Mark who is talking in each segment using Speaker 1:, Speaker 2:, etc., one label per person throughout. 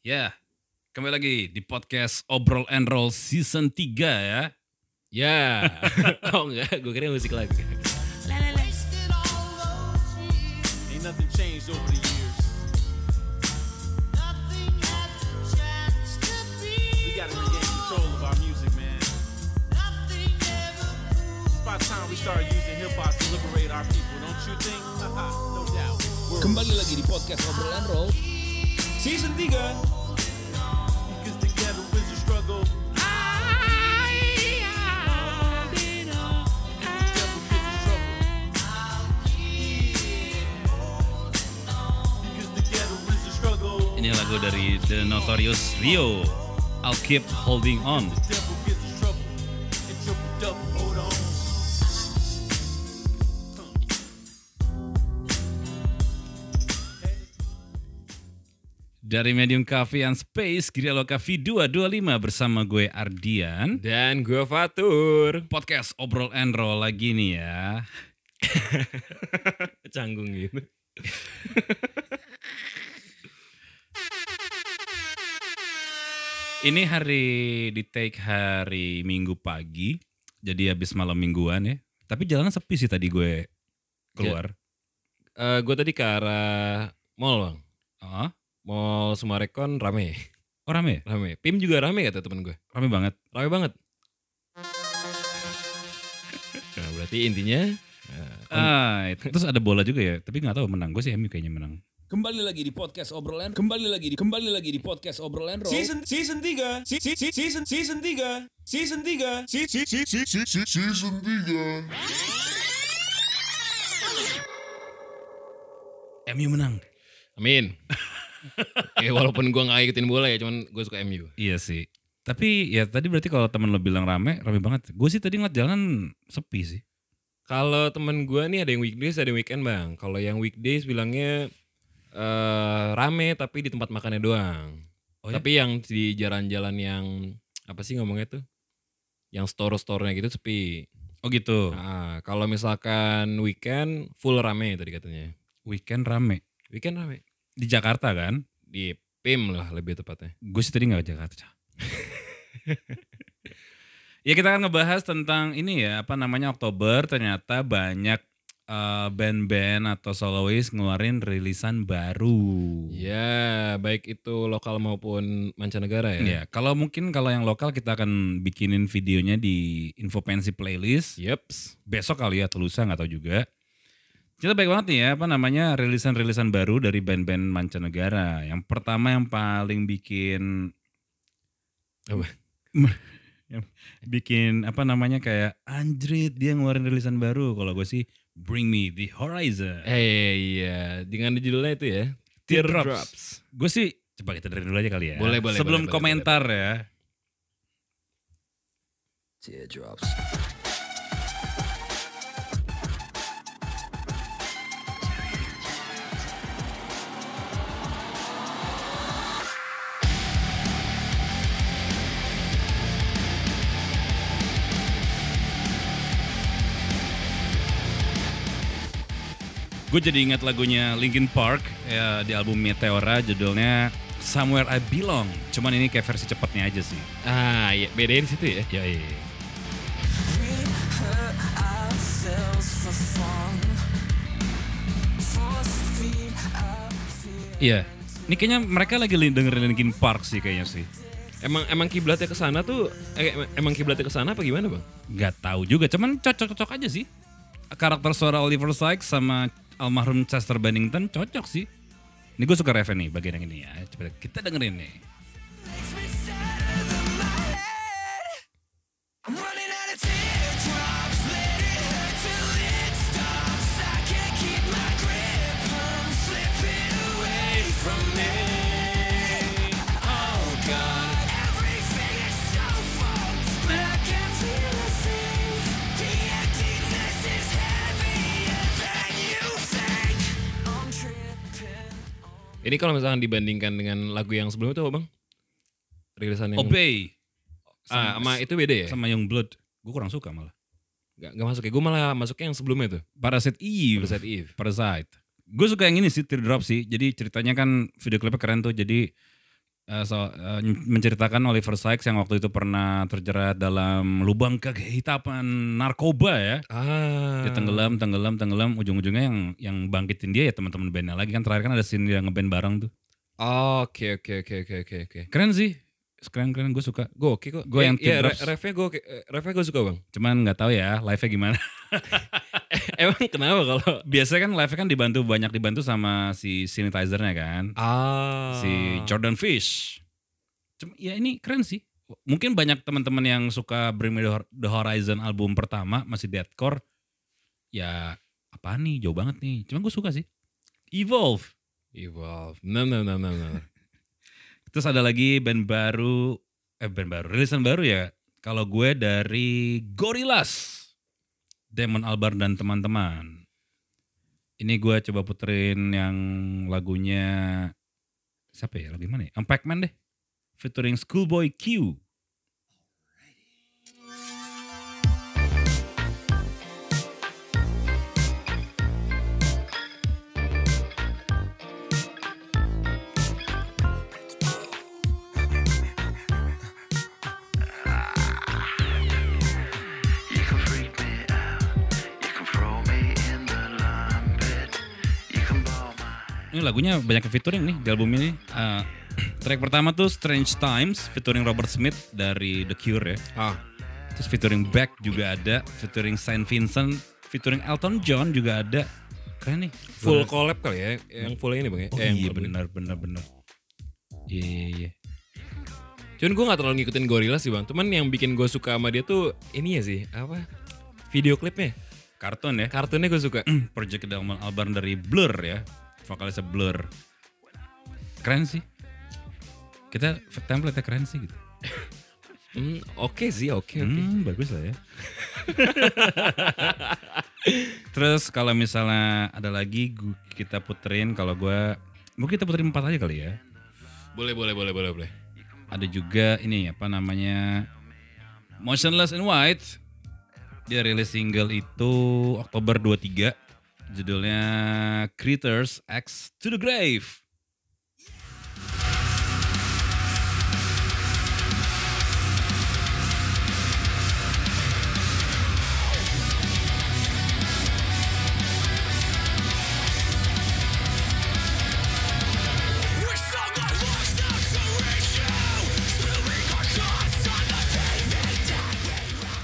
Speaker 1: Ya, kembali lagi di podcast Obrol and Roll Season 3 ya.
Speaker 2: Ya. oh enggak, gue kira musik lagi.
Speaker 3: Ain't nothing changed over the years. We gotta regain control of our music, man. It's about time we started using hip hop to liberate our people, don't you think? no doubt.
Speaker 2: Kembali lagi di podcast Obrol and Roll.
Speaker 3: Season 3 Because together is the struggle. Together is the struggle. Because together is the struggle.
Speaker 1: Ini lagu dari The Notorious Rio. I'll keep holding on.
Speaker 3: Devil gets in trouble. And triple double. Hold on.
Speaker 1: Dari Medium Cafe and Space, Girialo Cafe 225 bersama gue Ardian.
Speaker 2: Dan gue Fatur.
Speaker 1: Podcast Obrol and Roll lagi nih ya.
Speaker 2: Canggung gitu.
Speaker 1: Ini hari di take hari Minggu pagi. Jadi habis malam mingguan ya. Tapi jalanan sepi sih tadi gue keluar.
Speaker 2: Eh gue tadi ke arah mall bang.
Speaker 1: Heeh.
Speaker 2: Mall Sumarekon rame.
Speaker 1: Oh rame ya?
Speaker 2: Rame. Pim juga rame kata temen gue.
Speaker 1: Rame banget.
Speaker 2: Rame banget. Nah, berarti intinya. eh,
Speaker 1: Ah, itu- terus ada bola juga ya, tapi nggak tahu menang. Gue sih MU kayaknya menang.
Speaker 4: Kembali lagi di podcast obrolan. Kembali lagi di kembali lagi di podcast obrolan. Roll.
Speaker 3: Season season tiga, si, si, si, season season tiga, season tiga, si, si, si, si, si, si, season tiga.
Speaker 1: MU menang.
Speaker 2: amin. ya walaupun gue gak ngikutin bola ya, cuman gue suka MU.
Speaker 1: Iya sih. Tapi ya tadi berarti kalau teman lo bilang rame, rame banget. Gue sih tadi ngeliat jalan sepi sih.
Speaker 2: Kalau temen gue nih ada yang weekdays, ada yang weekend bang. Kalau yang weekdays bilangnya eh rame tapi di tempat makannya doang.
Speaker 1: Oh, ya?
Speaker 2: Tapi yang di jalan-jalan yang apa sih ngomongnya tuh? Yang store-store-nya gitu sepi.
Speaker 1: Oh gitu.
Speaker 2: Nah, kalau misalkan weekend full rame tadi katanya.
Speaker 1: Weekend rame
Speaker 2: Weekend rame.
Speaker 1: di Jakarta kan?
Speaker 2: Di PIM lah lebih tepatnya.
Speaker 1: Gue sih tadi nggak ke Jakarta. ya kita akan ngebahas tentang ini ya apa namanya Oktober ternyata banyak eh, band-band atau soloist ngeluarin rilisan baru.
Speaker 2: Ya, baik itu lokal maupun mancanegara ya.
Speaker 1: Ya, kalau mungkin kalau yang lokal kita akan bikinin videonya di Infopensi
Speaker 2: Iya.
Speaker 1: playlist.
Speaker 2: Yeps.
Speaker 1: Besok kali ya, atau lusa nggak tahu juga. Kita baik banget nih ya, apa namanya rilisan-rilisan baru dari band-band mancanegara. Yang pertama yang paling bikin
Speaker 2: Apa?
Speaker 1: Yang bikin apa namanya kayak anjrit dia ngeluarin rilisan baru. Kalau gue sih Bring Me The Horizon.
Speaker 2: Eh iya, dengan judulnya itu ya.
Speaker 1: Teardrops. Gue sih coba kita dengerin dulu aja kali ya.
Speaker 2: Boleh, boleh,
Speaker 1: Sebelum
Speaker 2: boleh, boleh,
Speaker 1: komentar ya.
Speaker 4: Teardrops.
Speaker 1: Gue jadi ingat lagunya Linkin Park ya, di album Meteora judulnya Somewhere I Belong. Cuman ini kayak versi cepatnya aja sih.
Speaker 2: Ah, iya, bedain situ ya.
Speaker 1: Ya iya. Iya. Ini kayaknya mereka lagi li- dengerin Linkin Park sih kayaknya sih.
Speaker 2: Emang emang kiblatnya ke sana tuh eh, em- emang kiblatnya ke sana apa gimana, Bang?
Speaker 1: Gak tahu juga, cuman cocok-cocok aja sih. Karakter suara Oliver Sykes sama almarhum Chester Bennington cocok sih. Ini gue suka Raven nih bagian yang ini ya. Coba kita dengerin nih.
Speaker 5: Oh,
Speaker 2: Ini kalau misalkan dibandingkan dengan lagu yang sebelumnya tuh, apa, Bang? Rilisan yang
Speaker 1: Obey
Speaker 2: ah, sama itu beda ya?
Speaker 1: sama Youngblood. Gue kurang suka malah.
Speaker 2: Gak, gak masuk ya. Gue malah masuknya yang sebelumnya tuh.
Speaker 1: Parasite Eve.
Speaker 2: Parasite Eve.
Speaker 1: Parasite. Gue suka yang ini sih Teardrop sih. Jadi ceritanya kan video klipnya keren tuh. Jadi eh, so, eh, menceritakan Oliver Sykes yang waktu itu pernah terjerat dalam lubang kehitapan narkoba ya.
Speaker 2: Ah.
Speaker 1: Dia tenggelam, tenggelam, tenggelam. Ujung-ujungnya yang yang bangkitin dia ya teman-teman bandnya lagi kan. Terakhir kan ada scene dia ngeband bareng tuh.
Speaker 2: Oh, Oke oke oke oke oke oke.
Speaker 1: Keren sih. Keren-keren gue suka.
Speaker 2: Gue oke kok.
Speaker 1: Gua yang
Speaker 2: ya,
Speaker 1: Teardrops.
Speaker 2: refnya gue refnya gue suka bang.
Speaker 1: Cuman nggak tahu ya live-nya gimana.
Speaker 2: Emang kenapa kalau
Speaker 1: Biasanya kan live-nya kan dibantu banyak dibantu sama si sanitizer-nya kan.
Speaker 2: ah
Speaker 1: si Jordan Fish. Cuma, ya ini keren sih. Mungkin banyak teman-teman yang suka Bring Me The Hor- The Horizon album pertama masih deathcore. Ya apa nih jauh banget nih. Cuman gue suka sih. Evolve.
Speaker 2: evolve. No no no no no.
Speaker 1: Terus ada lagi band baru, eh band baru, rilisan baru ya. Kalau gue dari Gorillaz, Damon Albarn dan teman-teman. Ini gue coba puterin yang lagunya siapa ya? Lagu mana ya? Yang Pac-Man deh. Featuring Schoolboy Q.
Speaker 6: You can freak me out. You can throw me in the limbed. You can ball my
Speaker 1: Ini lagunya banyak yang featuring nih di album ini. Eh, track pertama tuh Strange Times featuring Robert Smith dari The Cure ya.
Speaker 2: Ah
Speaker 1: Terus featuring Beck juga ada, featuring Saint Vincent, featuring Elton John juga ada. Keren nih.
Speaker 2: full collab kali ya yang full ini bang ya.
Speaker 1: Oh,
Speaker 2: Eh, yang
Speaker 1: iya
Speaker 2: collab ini.
Speaker 1: benar benar benar. Iya iya iya.
Speaker 2: Cuman gue gak terlalu ngikutin gorila sih bang. Cuman yang bikin gue suka sama dia tuh ini ya sih apa video klipnya.
Speaker 1: Kartun ya.
Speaker 2: Kartunnya gue suka.
Speaker 1: Project Damon Albarn dari Blur ya. Vokalisnya Blur. Keren sih. Kita template keren sih gitu.
Speaker 2: Hmm, oke sih oke oke.
Speaker 1: Hmm, bagus lah ya. Terus kalau misalnya ada lagi gu- kita puterin kalau gua mungkin kita puterin empat aja kali ya.
Speaker 2: Boleh boleh boleh boleh boleh.
Speaker 1: ada juga ini apa namanya Motionless in White dia rilis single itu Oktober 23 judulnya Critters X to the Grave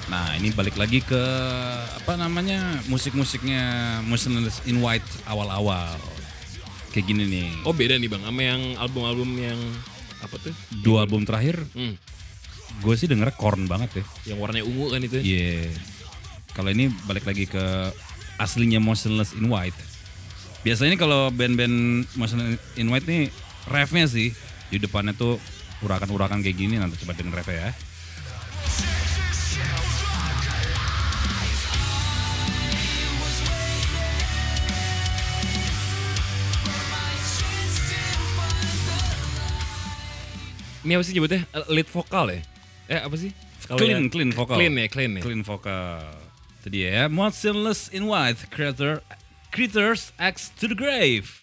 Speaker 1: Nah ini balik lagi ke apa namanya musik-musiknya Motionless in White awal-awal kayak gini nih
Speaker 2: Oh beda nih bang sama yang album-album yang apa tuh?
Speaker 1: dua album terakhir
Speaker 2: Hmm,
Speaker 1: gue sih dengernya corn banget ya
Speaker 2: yang warnanya ungu kan itu.
Speaker 1: Iya. Kalau ini balik lagi ke aslinya Motionless in White. Biasanya kalau band-band Motionless in White nih refnya sih di depannya tuh urakan-urakan kayak gini nanti coba denger refnya ya.
Speaker 2: Ini apa sih nyebutnya? Eh, Lead vokal ya? Eh apa sih? Kalau
Speaker 1: Clean,
Speaker 2: yang-
Speaker 1: clean vokal.
Speaker 2: Clean ya, clean ya.
Speaker 1: Clean vokal. Itu dia ya. Motionless in White, creator, Creators X to the Grave.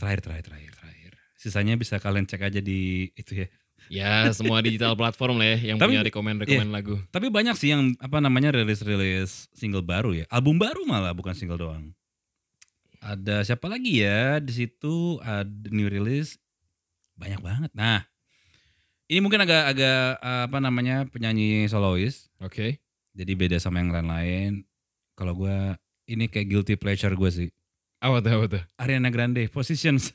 Speaker 1: Terakhir, terakhir, terakhir, terakhir. Sisanya bisa kalian cek aja di itu ya.
Speaker 2: Ya semua digital platform lah ya yang
Speaker 1: Tapi- iya.
Speaker 2: punya rekomend-rekomend lagu.
Speaker 1: Tapi banyak sih yang apa namanya rilis-rilis single baru ya. Album baru malah bukan single doang. Ada siapa lagi ya di situ ada new release banyak banget. Nah, ini mungkin agak-agak apa namanya penyanyi solois.
Speaker 2: Oke.
Speaker 1: Jadi beda sama yang lain-lain. Kalau gua ini kayak guilty pleasure gue sih.
Speaker 2: Apa tuh apa tuh?
Speaker 1: Ariana Grande Positions.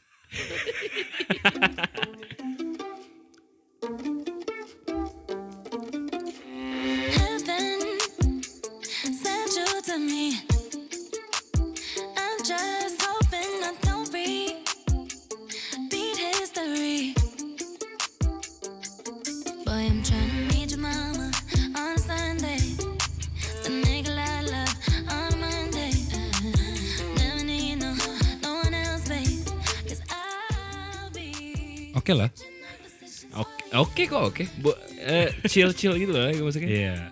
Speaker 5: Heaven sent you to me. I'm just hoping I don't repeat history. Boy, I'm trying to meet your mama on a Sunday. The nigga I love on a Monday. Never need no, no one else, babe. Cause I'll be.
Speaker 2: Oh.
Speaker 1: Oke lah. Oh.
Speaker 2: Oke, oke kok oke. Bu- eh, chill chill gitu lah maksudnya.
Speaker 1: Iya.
Speaker 2: iya.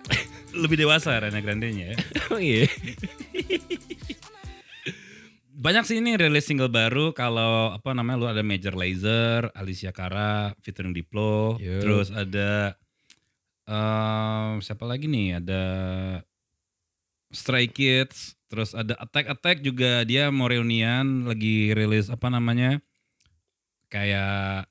Speaker 1: Lebih dewasa Ariana Grande-nya ya.
Speaker 2: Oh, Iya.
Speaker 1: Banyak sih ini rilis single baru kalau apa namanya lu ada Major Lazer, Alicia Cara featuring Diplo,
Speaker 2: Yo.
Speaker 1: terus ada em, siapa lagi nih? Ada Stray Kids, terus ada Attack Attack juga dia mau reunian lagi rilis apa namanya? Kayak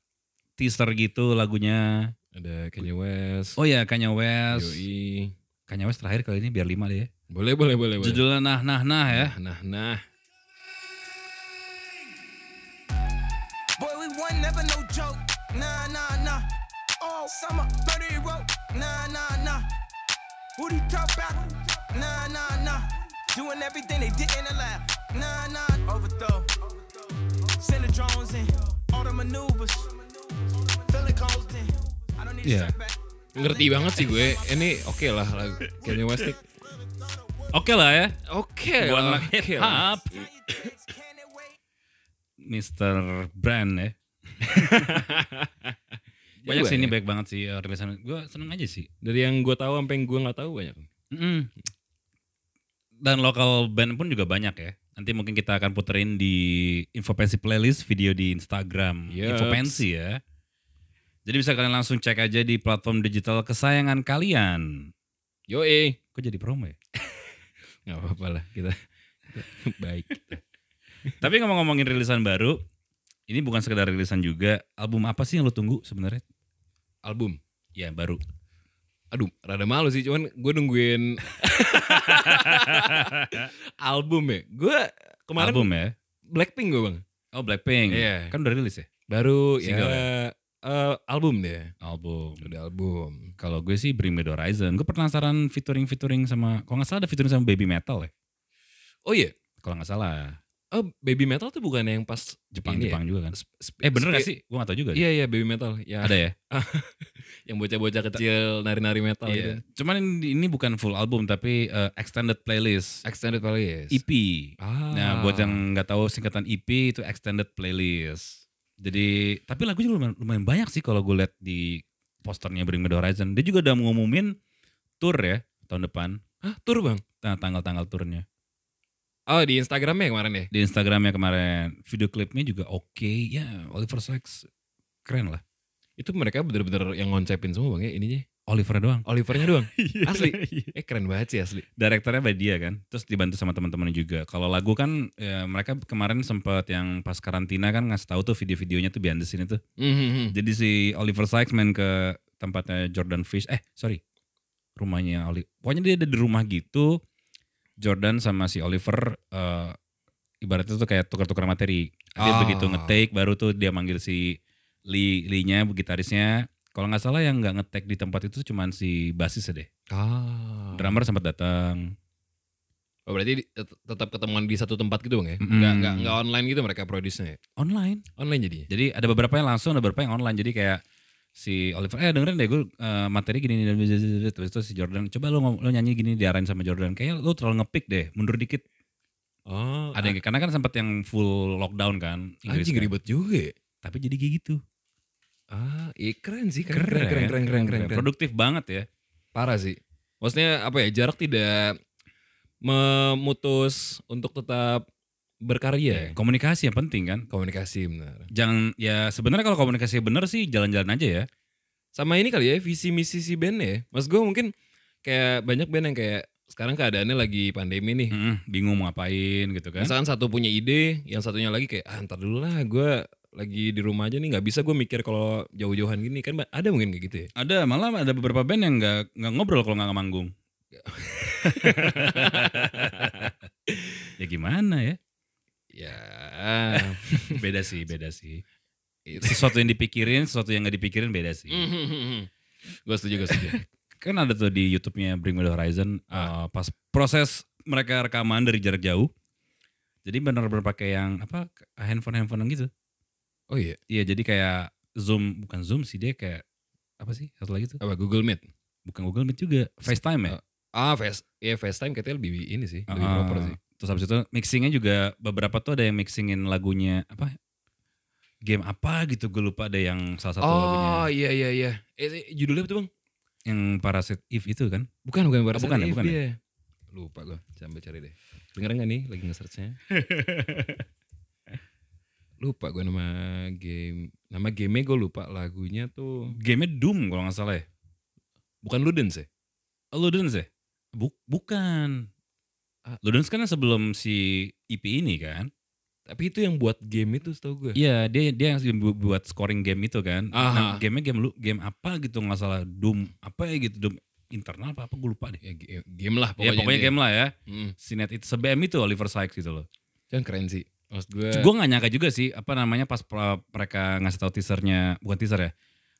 Speaker 1: teaser gitu lagunya.
Speaker 2: Ada Kanye West,
Speaker 1: Oh ya Kanye West.
Speaker 2: Yoi.
Speaker 1: Kanye West terakhir kali ini biar lima deh. ya.
Speaker 2: Boleh, boleh, boleh, boleh.
Speaker 1: Judulnya Nah Nah Nah ya.
Speaker 2: Nah, nah.
Speaker 7: Boy, we one never no joke. Nah, nah, nah. All summer, 30 rope. Nah, nah, nah. Who they talk about? Nah, nah, nah. Doing everything they didn't allow. Nah, nah. Overthrow. Send the drones in. All the maneuvers. Feeling cold in. I don't need a
Speaker 1: Yeah.
Speaker 7: setback.
Speaker 2: Ngerti banget sih gue. Ini oke lah lagu Kanye West. nih.
Speaker 1: Oke lah ya.
Speaker 2: Oke.
Speaker 1: Buat anak
Speaker 2: oke
Speaker 1: hip
Speaker 2: lah.
Speaker 1: hop. Mr. Brand ya. banyak
Speaker 2: Juga
Speaker 1: sih ini
Speaker 2: ya.
Speaker 1: baik banget sih eh, rilisan. Gue seneng aja sih.
Speaker 2: Dari yang gue tahu sampai yang gue nggak tahu banyak.
Speaker 1: Mm. Dan lokal band pun juga banyak ya. Nanti mungkin kita akan puterin di Infopensi playlist video di Instagram
Speaker 2: Yups.
Speaker 1: Infopensi ya. Jadi bisa kalian langsung cek aja di platform digital kesayangan kalian.
Speaker 2: Yo eh.
Speaker 1: Kok jadi promo ya?
Speaker 2: Gak apa-apa lah kita. Baik.
Speaker 1: Tapi ngomong-ngomongin rilisan baru, ini bukan sekedar rilisan juga. Album apa sih yang lo tunggu sebenarnya?
Speaker 2: Album.
Speaker 1: Ya baru.
Speaker 2: Aduh, rada malu sih. Cuman gue nungguin album ya. Gue kemarin
Speaker 1: Album ya?
Speaker 2: Blackpink gue bang.
Speaker 1: Oh Blackpink.
Speaker 2: Iya.
Speaker 1: Kan udah rilis ya?
Speaker 2: Baru
Speaker 1: Single
Speaker 2: ya,
Speaker 1: ya?
Speaker 2: eh, album deh.
Speaker 1: Album.
Speaker 2: Udah album.
Speaker 1: Kalau gue sih Bring Me The Horizon. Gue penasaran featuring-featuring sama, kalau nggak salah ada featuring sama Baby Metal ya?
Speaker 2: Oh iya.
Speaker 1: Kalau nggak salah
Speaker 2: Oh, baby metal tuh bukan yang pas ini
Speaker 1: Jepang-Jepang juga
Speaker 2: ya?
Speaker 1: kan.
Speaker 2: Sp- sp-
Speaker 1: Eh bener gak
Speaker 2: sp-
Speaker 1: sih? Gue gak tau juga.
Speaker 2: Iya iya baby metal. Ya,
Speaker 1: Ada ya?
Speaker 2: yang bocah-bocah kecil nari-nari metal
Speaker 1: Iya.
Speaker 2: gitu.
Speaker 1: Cuman ini, ini bukan full album tapi eh, extended playlist. E
Speaker 2: Extended playlist.
Speaker 1: EP.
Speaker 2: Ah.
Speaker 1: Nah buat yang nggak tahu singkatan EP itu extended playlist. Jadi tapi lagunya lumayan, lumayan banyak sih kalau gue lihat di posternya Bring Me The Horizon. Dia juga udah ngumumin tour ya tahun depan.
Speaker 2: Hah, tur bang?
Speaker 1: Nah, tanggal-tanggal turnya.
Speaker 2: Oh di Instagramnya kemarin ya?
Speaker 1: di Instagramnya kemarin video klipnya juga oke ya Oliver Sykes keren lah
Speaker 2: Itu mereka bener-bener yang ngoncepin semua bang ya ininya.
Speaker 1: Oliver doang
Speaker 2: Olivernya doang. asli. Eh keren banget sih asli.
Speaker 1: direkturnya by dia kan terus dibantu sama teman-teman juga kalau lagu kan ya, mereka kemarin sempat yang pas karantina kan ngasih tahu tuh video-videonya tuh behind the scene itu
Speaker 2: Mhm.
Speaker 1: jadi si Oliver Sykes main ke tempatnya Jordan Fish eh sorry rumahnya Oli pokoknya dia ada di rumah gitu Jordan sama si Oliver eh, ibaratnya tuh kayak tukar-tukar materi dia
Speaker 2: Ah.
Speaker 1: begitu ngetik baru tuh dia manggil si Lee Lee nya gitarisnya kalau nggak salah yang nggak ngetek di tempat itu cuman si basis deh
Speaker 2: Ah.
Speaker 1: drummer sempat datang
Speaker 2: Oh, berarti di- tet- tetap ketemuan di satu tempat gitu bang ya?
Speaker 1: Mm-mm.
Speaker 2: Nggak, nggak, nggak online gitu mereka produce-nya ya?
Speaker 1: online
Speaker 2: Online jadinya?
Speaker 1: jadi ada beberapa yang langsung ada beberapa yang online jadi kayak si Oliver eh dengerin deh gue eh, materi gini dan terus itu si Jordan coba lo, ngom- lo nyanyi gini diarahin sama Jordan kayaknya lo terlalu ngepick deh mundur dikit
Speaker 2: Oh,
Speaker 1: ada yang karena kan sempat yang full lockdown kan Inggris
Speaker 2: anjing
Speaker 1: kan.
Speaker 2: ribet juga ya?
Speaker 1: tapi jadi kayak gitu
Speaker 2: Ah, iya keren sih. Keren, keren, keren, keren, keren, keren, keren.
Speaker 1: produktif banget ya
Speaker 2: Parah sih. Maksudnya apa ya, jarak tidak memutus untuk tetap berkarya. ya?
Speaker 1: komunikasi yang penting kan
Speaker 2: Komunikasi benar.
Speaker 1: jangan ya sebenarnya kalau komunikasi bener sih jalan-jalan aja ya
Speaker 2: Sama ini kali ya, visi misi si band ya. Mas gue mungkin kayak banyak band yang kayak sekarang keadaannya lagi pandemi nih.
Speaker 1: Mm, bingung mau ngapain gitu kan
Speaker 2: Misalkan satu punya ide, yang satunya lagi kayak ah ntar dulu lah gue lagi di rumah aja nih nggak bisa gue mikir kalau jauh-jauhan gini kan ba- ada mungkin kayak gitu ya
Speaker 1: ada malah ada beberapa band yang nggak nggak ngobrol kalau nggak manggung ya gimana ya
Speaker 2: ya
Speaker 1: beda sih beda sih
Speaker 2: itu.
Speaker 1: sesuatu yang dipikirin sesuatu yang nggak dipikirin beda sih
Speaker 2: gue setuju gue setuju
Speaker 1: kan ada tuh di YouTube-nya Bring Me The Horizon eh, pas proses mereka rekaman dari jarak jauh jadi benar-benar pakai yang apa handphone handphone gitu
Speaker 2: oh iya
Speaker 1: iya jadi kayak zoom bukan zoom sih dia kayak apa sih satu lagi tuh
Speaker 2: apa Google Meet
Speaker 1: bukan Google Meet juga FaceTime ya
Speaker 2: Ah, face, ya FaceTime katanya lebih ini sih, lebih
Speaker 1: Ah,
Speaker 2: proper sih.
Speaker 1: terus habis itu mixingnya juga beberapa tuh ada yang mixingin lagunya apa game apa gitu gue lupa ada yang salah satu lagunya
Speaker 2: Oh iya iya iya. Eh, eh, judulnya apa tuh bang?
Speaker 1: yang Parasite Eve itu kan
Speaker 2: Bukan bukan
Speaker 1: bukan ya, bukan ya?
Speaker 2: Lupa gue, sambil cari deh. Denger gak nih lagi nge-searchnya? lupa gue nama game nama game gue lupa lagunya tuh
Speaker 1: Game-nya Doom kalau nggak salah ya.
Speaker 2: bukan Ludens ya
Speaker 1: Ludens ya? Buk- bukan.
Speaker 2: Ah.
Speaker 1: Ludens kan yang sebelum si EP ini kan?
Speaker 2: tapi itu yang buat game itu setahu gue
Speaker 1: Iya, dia dia yang bu- buat scoring game itu kan. Nah,
Speaker 2: Aha.
Speaker 1: gamenya game lu game apa gitu nggak salah Doom apa ya gitu Doom internal apa apa gue lupa deh.
Speaker 2: ya, game, game
Speaker 1: ya
Speaker 2: lah pokoknya,
Speaker 1: pokoknya game lah ya.
Speaker 2: Hmm.
Speaker 1: Sinet itu sebm itu Oliver Sykes gitu loh.
Speaker 2: Itu yang keren sih maksud gue
Speaker 1: Gue nggak nyangka juga sih apa namanya pas pra- mereka ngasih tahu teasernya bukan teaser ya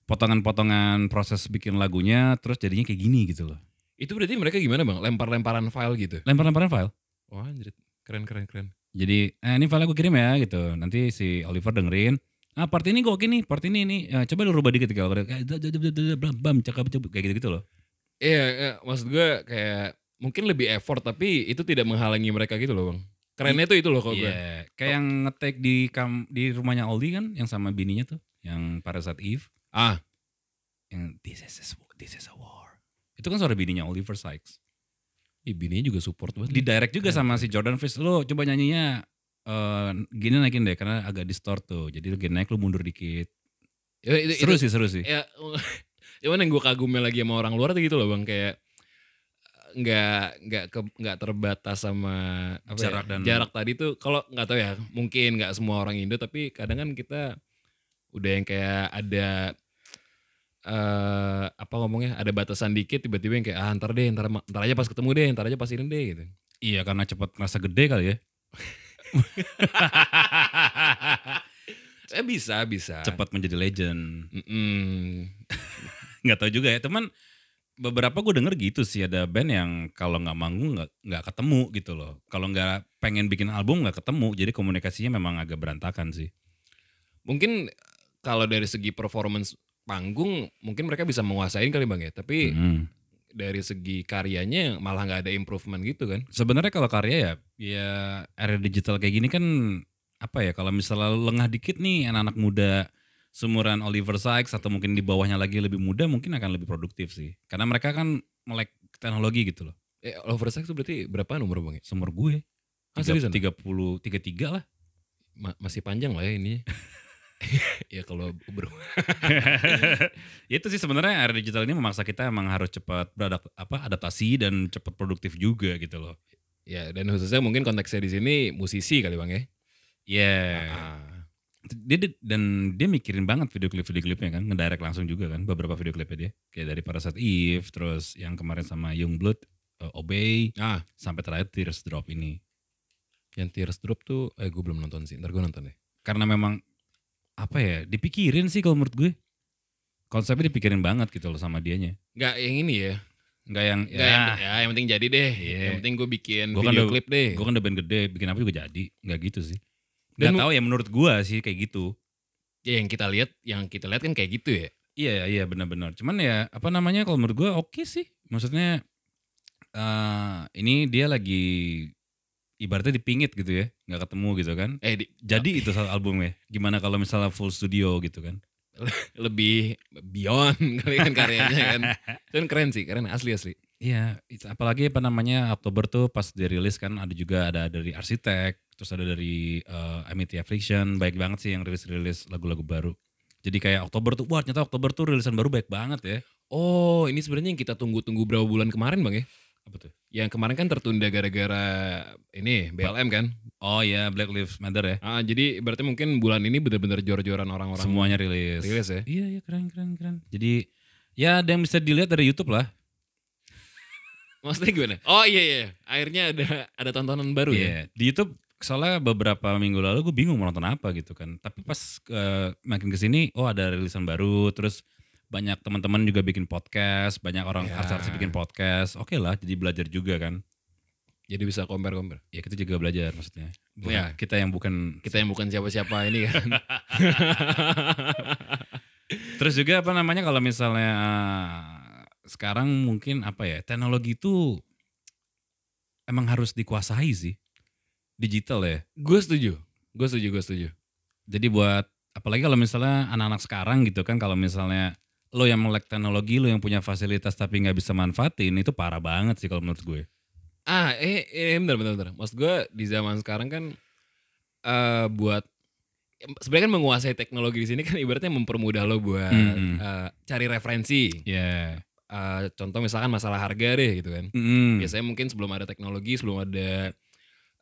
Speaker 1: potongan-potongan proses bikin lagunya terus jadinya kayak gini gitu loh.
Speaker 2: itu berarti mereka gimana bang lempar-lemparan file gitu
Speaker 1: Lempar-lemparan file.
Speaker 2: wah anjir Oh, keren keren keren
Speaker 1: Jadi eh, ini file aku kirim ya gitu. Nanti si Oliver dengerin. Ah part ini gue oke nih, part ini nih. Eh, coba lu rubah dikit kalau kayak da- da- da- da- da- bam bam cakep cakep kayak gitu-gitu loh.
Speaker 2: iya iya, maksud gue kayak mungkin lebih effort tapi itu tidak menghalangi mereka gitu loh bang kerennya tuh itu loh kalau gue
Speaker 1: Iya, kayak yang ngetek di kam di rumahnya Aldi kan yang sama bininya tuh, yang pada saat Eve,
Speaker 2: ah
Speaker 1: yang this is a, war- this is a war. Itu kan suara bininya Oliver Sykes.
Speaker 2: ih, bininya juga support banget
Speaker 1: Di direct juga sama si Jordan Fish, lo coba nyanyinya eh, gini naikin deh karena agak distort tuh. Jadi lu gini naik lu mundur dikit.
Speaker 2: Ya, itu,
Speaker 1: seru
Speaker 2: itu-
Speaker 1: sih, seru sih.
Speaker 2: ya cuman yang gue kagumnya lagi sama orang luar tuh gitu loh bang kayak nggak nggak ke nggak terbatas sama apa ya,
Speaker 1: Jarak dan-
Speaker 2: jarak tadi tuh kalau nggak tahu ya mungkin nggak semua orang Indo tapi kadang kan kita udah yang kayak ada eh apa ngomongnya ada batasan dikit tiba-tiba yang kayak ah ntar deh ntar, ma- ntar aja pas ketemu deh ntar aja pas ini deh gitu
Speaker 1: Iya, karena cepat merasa gede kali ya.
Speaker 2: eh bisa bisa
Speaker 1: Cepat menjadi legend.
Speaker 2: Mm-mm.
Speaker 1: nggak tahu juga ya teman beberapa gue denger gitu sih ada band yang kalau nggak manggung nggak nggak ketemu gitu loh kalau nggak pengen bikin album nggak ketemu jadi komunikasinya memang agak berantakan sih
Speaker 2: mungkin eh, kalau dari segi performance panggung mungkin mereka bisa menguasain kali bang ya tapi
Speaker 1: Mm.
Speaker 2: dari segi karyanya malah nggak ada improvement gitu kan
Speaker 1: sebenarnya kalau karya ya ya era digital kayak gini kan apa ya kalau misalnya lengah dikit nih anak-anak muda sumuran Oliver Sykes atau mungkin di bawahnya lagi lebih muda mungkin akan lebih produktif sih karena mereka kan melek teknologi gitu loh
Speaker 2: eh, oversize tuh berarti berapa umur bang ya
Speaker 1: sumur gue
Speaker 2: Ah, seriusan?
Speaker 1: tiga puluh tiga tiga lah
Speaker 2: Ma- masih panjang lah ya ini ya kalau bro
Speaker 1: Ya itu sih sebenarnya era digital ini memaksa kita emang harus cepat beradap apa adaptasi dan cepat produktif juga gitu loh.
Speaker 2: ya dan khususnya mungkin konteksnya di sini musisi kali bang ya
Speaker 1: Yeah.
Speaker 2: Ah.
Speaker 1: Dia dia- dan dia mikirin banget video klip video klipnya kan, ngedirect langsung juga kan beberapa video klipnya dia. Kayak dari Parasite Eve, terus yang kemarin sama Youngblood, eh, Obey,
Speaker 2: ah
Speaker 1: sampai terakhir Tears Drop ini.
Speaker 2: yang tears drop tuh eh gue belum nonton sih ntar gue nonton deh
Speaker 1: Karena memang apa ya, dipikirin sih kalau menurut gue. Konsepnya dipikirin banget gitu loh sama dianya.
Speaker 2: nggak yang ini ya
Speaker 1: Nggak yang "Ah,
Speaker 2: nggak yang, ya yang penting jadi deh
Speaker 1: Iya.
Speaker 2: yang penting gue bikin
Speaker 1: Gua kan
Speaker 2: video
Speaker 1: udah-
Speaker 2: klip deh
Speaker 1: Gue kan udah band gede, bikin apa juga jadi. Nggak gitu sih.
Speaker 2: Dan
Speaker 1: Nggak
Speaker 2: mu-
Speaker 1: tahu ya menurut gue sih kayak gitu.
Speaker 2: ya yang kita lihat yang kita lihat kan kayak gitu ya
Speaker 1: Iya, iya benar-benar. Cuman ya apa namanya kalau menurut gue oke sih. Maksudnya eh ini dia lagi ibaratnya dipingit gitu ya. Nggak ketemu gitu kan.
Speaker 2: eh di-
Speaker 1: Jadi itu satu albumnya. Gimana kalau misalnya full studio gitu kan.
Speaker 2: lebih beyond kali kan karyanya kan. Dan keren sih, keren asli asli.
Speaker 1: Iya, itu- apalagi apa namanya Oktober tuh pas dirilis kan ada juga ada dari Arsitek, terus ada dari eh, Amity Affliction, baik banget sih yang rilis-rilis lagu-lagu baru. Jadi kayak Oktober tuh, wah ternyata Oktober tuh rilisan baru baik banget ya.
Speaker 2: Oh, ini sebenarnya yang kita tunggu-tunggu berapa bulan kemarin bang ya?
Speaker 1: Apa tuh?
Speaker 2: Yang kemarin kan tertunda gara-gara ini BLM kan.
Speaker 1: Oh iya, Black Lives Matter ya.
Speaker 2: Ah, jadi berarti mungkin bulan ini benar-benar jor-joran orang-orang.
Speaker 1: Semuanya rilis.
Speaker 2: rilis ya?
Speaker 1: Iya, iya keren, keren, keren. Jadi ya ada yang bisa dilihat dari YouTube lah.
Speaker 2: Maksudnya gimana? Oh iya iya, akhirnya ada ada tontonan baru ya.
Speaker 1: Iya, di YouTube soalnya beberapa minggu lalu gue bingung mau nonton apa gitu kan. Tapi pas eh, makin kesini, oh ada rilisan baru, terus banyak teman-teman juga bikin podcast, banyak orang
Speaker 2: Ya.
Speaker 1: artis-artis bikin podcast. Oke lah, jadi belajar juga kan.
Speaker 2: Jadi bisa compare-compare.
Speaker 1: Ya kita juga belajar maksudnya. Bukan,
Speaker 2: Ya.
Speaker 1: Kita yang bukan.
Speaker 2: Kita yang bukan siapa-siapa ini kan.
Speaker 1: Terus juga apa namanya kalau misalnya eh, sekarang mungkin apa ya teknologi itu emang harus dikuasai sih digital ya.
Speaker 2: gue setuju, gue setuju, gue setuju.
Speaker 1: Jadi buat apalagi kalau misalnya anak-anak sekarang gitu kan kalau misalnya lo yang melek teknologi, lo yang punya fasilitas tapi nggak bisa manfaatin itu parah banget sih kalau menurut gue.
Speaker 2: Ah, eh, eh bentar, bentar, bentar. Maksud gue di zaman sekarang kan eh buat sebenarnya kan menguasai teknologi di sini kan ibaratnya mempermudah lo buat
Speaker 1: Mm-mm.
Speaker 2: eh, cari referensi.
Speaker 1: Ya.
Speaker 2: Eh, contoh misalkan masalah harga deh gitu kan.
Speaker 1: Mm-mm.
Speaker 2: Biasanya mungkin sebelum ada teknologi, sebelum ada